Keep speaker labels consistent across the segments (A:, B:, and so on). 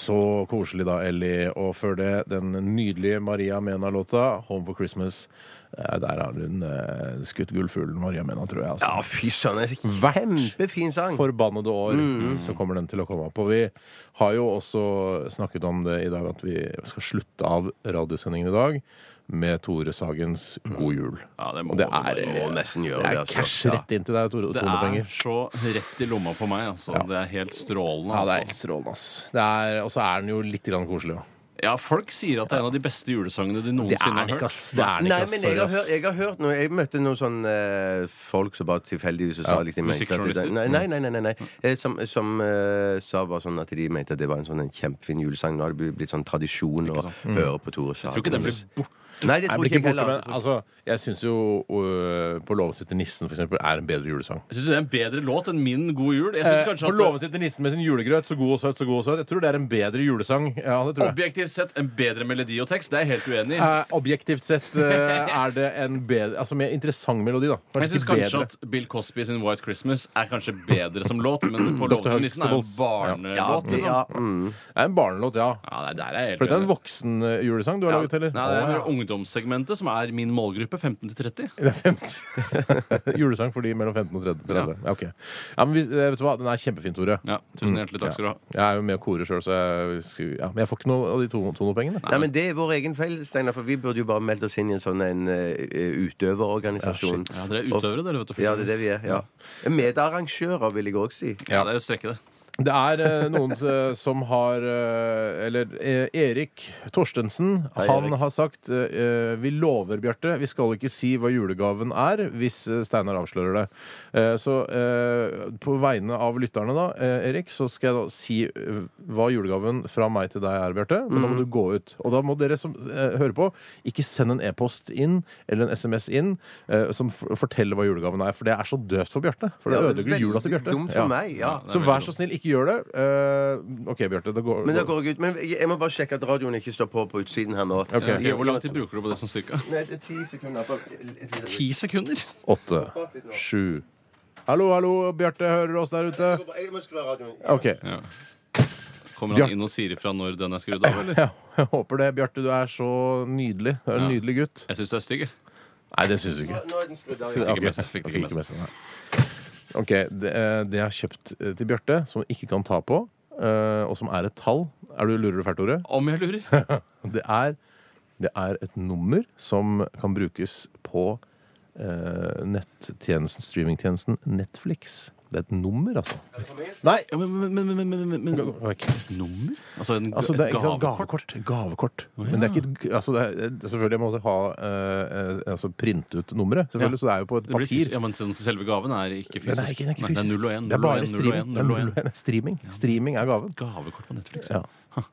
A: Så koselig da, Ellie. Og før det, den nydelige Maria Mena-låta, 'Home for Christmas'. Eh, Der har hun eh, skutt gullfuglen Maria Mena, tror jeg. Altså.
B: Ja, fy søren. det er
A: Hvert
B: Kjempefin sang.
A: Forbannede år, så kommer den til å komme opp. Og vi har jo også snakket om det i dag, at vi skal slutte av radiosendingen i dag med Tore Sagens 'God jul'.
C: Ja, det må-
A: Og det er,
C: det
B: må nesten gjøre
A: det er
B: det, altså.
A: cash
B: Ja.
A: rett inn til deg, Tore.
C: Det
A: Tone-penger.
C: er så rett i lomma på meg, altså. Det er helt strålende.
A: Ja, det er helt
C: altså.
A: strålende, ass. Det er- Og så er den jo litt grann koselig òg.
C: ja, folk sier at det er en av de beste julesangene de
A: Det er
C: noensinne
A: den
C: har
A: ikke,
C: hørt.
A: ass. Det er den
B: Nei,
A: ikke,
B: altså,
A: ass.
B: men jeg
A: Sorry,
B: har, hørt,
A: ass.
B: jeg har hørt noe Jeg møtte noen sånne eh, folk som bare tilfeldigvis sa liksom, mente at det-
C: musikkjournalister?
B: Nei, nei, nei. nei, nei, nei. Eh, Som, som eh, sa bare sånn at de mente at det var en sånn en kjempefin julesang. Nå har det blitt- blitt sånn tradisjon å høre på Tore Sagen.
C: Jeg tror ikke den blir borte.
B: Nei, det
A: Jeg
B: tror
A: blir ikke
B: ikke
A: borte,
B: jeg heller.
A: men altså, jeg syns jo øh, På låven sitter nissen for eksempel, er en bedre julesang.
C: Jeg syns det er en bedre låt enn Min god jul. Jeg
A: Eh,
C: synes kanskje
A: på låven
C: at
A: sitter nissen med sin julegrøt, så god og søt, så god og søt. Jeg tror det er en bedre julesang. Ja, det tror jeg.
C: Objektivt sett en bedre melodi og tekst. Det er jeg helt uenig i.
A: Eh, objektivt sett eh, er det en bedre Altså mer interessant melodi, da.
C: Jeg syns
A: ikke
C: kanskje
A: bedre.
C: at Bill Cosby sin White Christmas er kanskje bedre som låt, men på Loven som nissen er jo en
A: Huxtables.
C: barnelåt, liksom.
B: Ja, mm.
A: Det er en barnelåt, ja.
C: Ja, nei, der er jeg
A: For dette
C: helt
A: er en
C: uenig.
A: voksenjulesang du har
C: Ja.
A: laget, eller?
C: Nei, det er
A: Å, ja.
C: ungdomssegmentet som er min målgruppe, 15 til 30.
A: Det er 50. Julesang for de mellom 15 og 30. Ja, ok. ja, men vi, eh, vet du hva? Den er kjempefin, Tore.
C: Ja, tusen hjertelig
A: Mm.
C: takk skal du ha.
A: Jeg er jo med og korer sjøl, så jeg, skulle- ja, men jeg får ikke noe av de to- tonopengene.
B: Nei, men det er vår egen feil, Steinar, for vi burde jo bare meldt oss inn i en sånn en eh, utøverorganisasjon.
C: Ja, dere er utøvere, dere, vet du.
B: Ja, det er det vi er. ja Medarrangører, vil jeg òg si.
C: Ja, det er jo strekke, det.
A: Det er eh, noen eh, som har eh, Eller eh, Erik Torstensen.
B: Hei,
A: han
B: Erik.
A: har sagt eh, Vi lover, Bjarte, vi skal ikke si hva julegaven er, hvis eh, Steinar avslører det. Eh, så eh, på vegne av lytterne, da, eh, Erik, så skal jeg da si eh, hva julegaven fra meg til deg er, Bjarte. Men da må
B: Mm.
A: du gå ut. Og da må dere som eh, hører på, ikke send en e-post inn eller en SMS inn eh, som f forteller hva julegaven er, for det er så døvt for Bjarte. For det
B: Ja,
A: ødelegger jula til
B: veldig
A: Bjarte.
B: Dumt for
A: Ja.
B: meg, ja.
A: Så vær så snill, ikke gjør det. Eh, OK, Bjarte. Det går,
B: Men, da går jeg, ut. Men jeg jeg må bare sjekke at radioen ikke står på på utsiden her nå.
A: Ok.
C: Ok, Eh, Hvor lang tid bruker du på det som cirka?
B: Nei, det er ti sekunder. Bare litt- litt-
C: Ti sekunder?
A: Åtte, sju Hallo, hallo, Bjarte. Hører du oss der ute?
B: Jeg må skru av radioen.
A: OK.
C: Ja. Kommer han inn og sier ifra når den er skrudd av, eller?
A: Ja, jeg håper det. Bjarte, du er så nydelig. Du er en nydelig gutt.
C: Jeg syns du er stygg, jeg.
A: Nei, det syns du ikke.
B: Nå er den skrudd av.
A: Fikk
B: Ja.
C: ikke med seg, fikk
A: Fikk
C: ikke med
A: ikke med seg. nei. OK. Det, eh, det jeg har kjøpt eh, til Bjarte, som han ikke kan ta på, eh, og som er et tall Er du lurer du fælt, Tore?
C: Om jeg lurer.
A: Det er, det er et nummer som kan brukes på eh, nettjenesten, streamingtjenesten Netflix. Det er et nummer, altså. Nei!
C: Ja, men, men, men, men, men, men, men
A: Ok.
C: Nummer? Altså, en,
A: Altså, det er
C: et
A: ikke sånn
C: gavekort?
A: gavekort. Gavekort. Men det er ikke et, altså, det er, selvfølgelig må du ha eh, eh, altså, printe ut nummeret, selvfølgelig,
C: Ja.
A: så det er jo på et
C: Det blir fys-
A: papir.
C: ja, men sånn- selve gaven er ikke fysisk.
A: Den er ikke, den er ikke
C: Nei, det er
A: fysisk.
C: 0 og 1.
A: Det er bare streaming. Det er
C: 0 og 1.
A: null og en. streaming. Streaming er gaven.
C: Gavekort på Netflix.
A: Ja.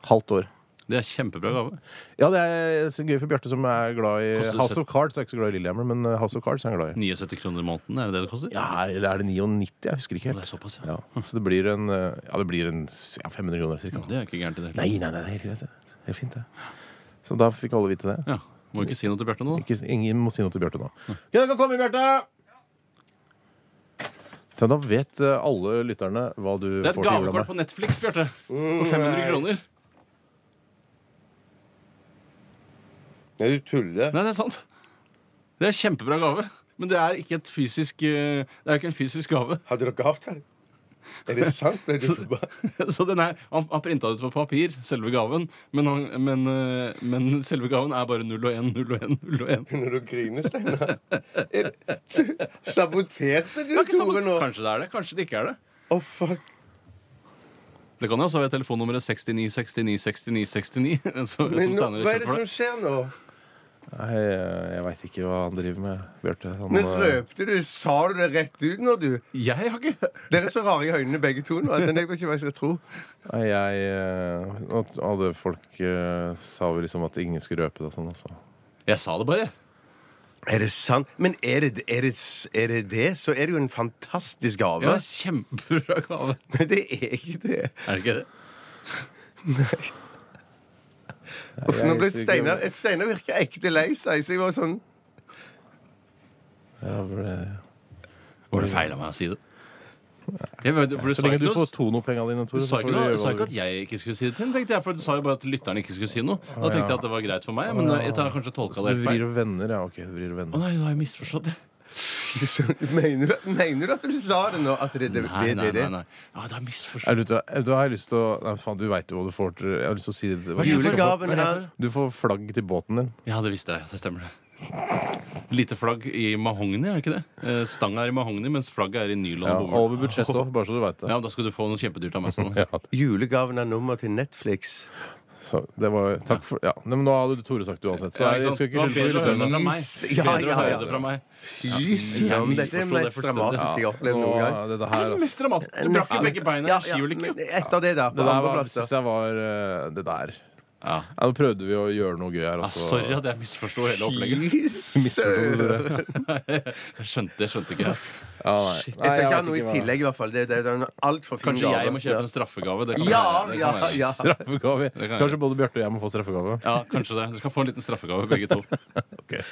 A: Halvt år.
C: Det er kjempebra gave.
A: Ja, det er så gøy for Bjarte, som er glad i
C: Koster
A: House
C: søt-
A: of Cards. Er ikke så glad i Lillehammer, men eh, House of Cards er han glad i.
C: 79 kroner i måneden, er det det det koster?
A: Ja, eller er det 99? Jeg husker ikke helt.
C: Det er såpass, ja.
A: Ja, så det blir en, eh, ja, det blir en ja, 500 kroner cirka.
C: Det er ikke gærent i det hele tatt.
A: Nei, nei, nei, det er helt greit. det. Det er fint, det. Så da fikk alle vite det.
C: Ja. Må ikke si noe til Bjarte nå, da.
A: Ikke, ingen må si noe til Bjarte nå. Ja, dere kan komme, Bjarte! Ja, da vet eh, alle lytterne hva du
C: Det er
A: får Mm. til
C: et
A: jula med.
C: gavekort på Netflix, Bjarte. På 500 kroner.
B: Nei, du tuller.
C: Nei, det er sant. Det er kjempebra gave. Men det er ikke, et fysisk, eh, det er ikke en fysisk gave.
B: Hadde dere avtale? Er det sant? Ble du forbanna?
C: Så den er, Han, han printa det ut på papir, selve gaven. Men, han, men, eh, men selve gaven er bare 0 og 1, 0 og 1, 0 og 1.
B: Når du griner, Steinar. Er det- du- Saboterte du Tore nå?
C: Kanskje det er det, kanskje det ikke er det.
B: Å, fuck.
C: Det kan jo også være telefonnummeret 69 69 69 69. Så,
B: Men
C: som
B: nå,
C: Steiner
B: hva er det
C: kjemper
B: som
C: for.
B: skjer nå?
A: Nei, eh, jeg veit ikke hva han driver med, Bjarte. Han,
B: Men
A: eh,
B: røpte du? Sa du det rett ut nå, du?
C: Jeg har ikke
B: Dere er så rare i øynene begge to nå. at Jeg vet ikke hva jeg skal tro.
A: nei, jeg eh, Nå t- hadde folk eh, sa vel liksom at ingen skulle røpe det og sånn også.
C: Jeg sa det bare.
B: Er det sant? Men er det er det, er det, det så er det jo en fantastisk gave.
C: Ja, kjempebra gave.
B: Men det er ikke det.
C: Er det ikke det?
B: Uff, nå ble
A: husker ikke-
B: Steinar Steinar virker ekte lei seg, så jeg var sånn
A: Ja, for det-
C: Var det feil av meg å si det? Jeg vet, for du
A: Så
C: sa
A: lenge
C: ikke
A: du
C: noe-
A: får Tono-penga dine,
C: du
A: Tore.
C: sa
A: så får
C: ikke, noe,
A: gjøre
C: du sa
A: hva
C: ikke at jeg ikke skulle si det til henne, tenkte jeg, for du sa jo bare at lytterne ikke skulle si noe. Da tenkte jeg at det var greit for meg, men jeg tar kanskje tolka
A: Så du
C: det helt
A: vrir
C: feil.
A: og vender, ja. Ok, du vrir og
C: Å
A: vender.
C: nei, da har jeg misforstått det.
B: Mener du, mener du at du sa det nå? At det, det,
C: Nei,
B: det,
C: nei,
B: det,
C: nei. nei. Ja, da har jeg misforstått.
A: Er du, ute- da har jeg lyst til å Nei, faen, du veit jo hva du får til Jeg har lyst til å si det. til-
C: Hva er det for-
B: Julegaven
C: hva er det
B: her.
C: for?
A: Du får flagg til båten din.
C: Ja, det visste jeg. Det stemmer. det Lite flagg i mahogni, er det ikke det? Eh, Stanga er i mahogni, mens flagget er i nylon
A: Ja,
C: og bomull.
A: over budsjettet òg, bare så du veit det.
C: Ja, da skal du få noe kjempedyrt av meg. Sånn.
A: Ja,
B: Julegaven er nummer til Netflix.
A: så det var, takk for, ja. Nei, Men nå hadde Tore sagt det uansett, så
C: Ja,
A: jeg
C: ikke sånn- sant?
A: skal ikke
C: Det var
A: skylde på
C: bedre å høre det
A: lytterne.
C: fra meg.
B: Ja,
C: Bedre å
B: ja, ja.
C: høre det fra meg.
B: Fy søren, dette er det mest
C: misforstod det
B: dramatiske jeg har opplevd noen gang.
A: Nå- Dette her, altså.
C: Mest dramatisk. Du brakk jo begge beina i skiulykke.
B: men Ett av det, da. På
A: Det der var,
B: andreplass, da.
A: synes jeg var eh, Det der.
C: Ja.
A: Ja, Nå prøvde vi å gjøre noe gøy her,
C: Ja,
A: altså.
C: Ah, sorry at jeg misforsto hele opplegget.
B: Fy
A: Misforstod du,
B: søren.
A: Tore?
C: Jeg skjønte, det skjønte ikke jeg.
A: Ja, nei. Nei,
B: Jeg skal ikke ha
A: vet
B: noe i
A: hva-
B: tillegg, i hvert fall. Det, det, det er en altfor fin
C: Kanskje jeg
B: gave.
C: må kjøpe en straffegave. Det kan
B: Ja,
C: være- det
B: ja,
C: kan være.
B: ja.
A: Straffegave.
C: Det kan jeg
A: Kanskje både Bjarte og jeg må få straffegave.
C: Ja, kanskje det. Dere skal få en liten straffegave, begge to. Jeg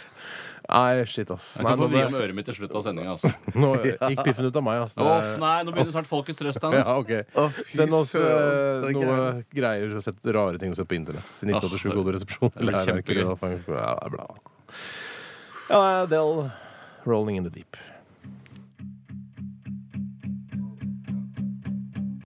A: Nei, shit, ass. Nei,
C: kan få
A: nå,
C: vri om øret mitt til slutt av sendinga. Altså.
A: ble- nå gikk piffen ut av meg, ass. Det-
C: Åh, nei, nå begynner snart folkets røst. da.
A: Ja, ok.
B: Å, fy
A: Send oss eh,
B: søren, det er
A: noe greier og sett rare ting å se på internett. 1987
C: Åh,
A: Gode resepsjon.
C: det blir
A: Eller er det ikke
C: kjempegøy.
A: det? Ja, det er bra. Ja, Del, 'Rolling in the Deep'.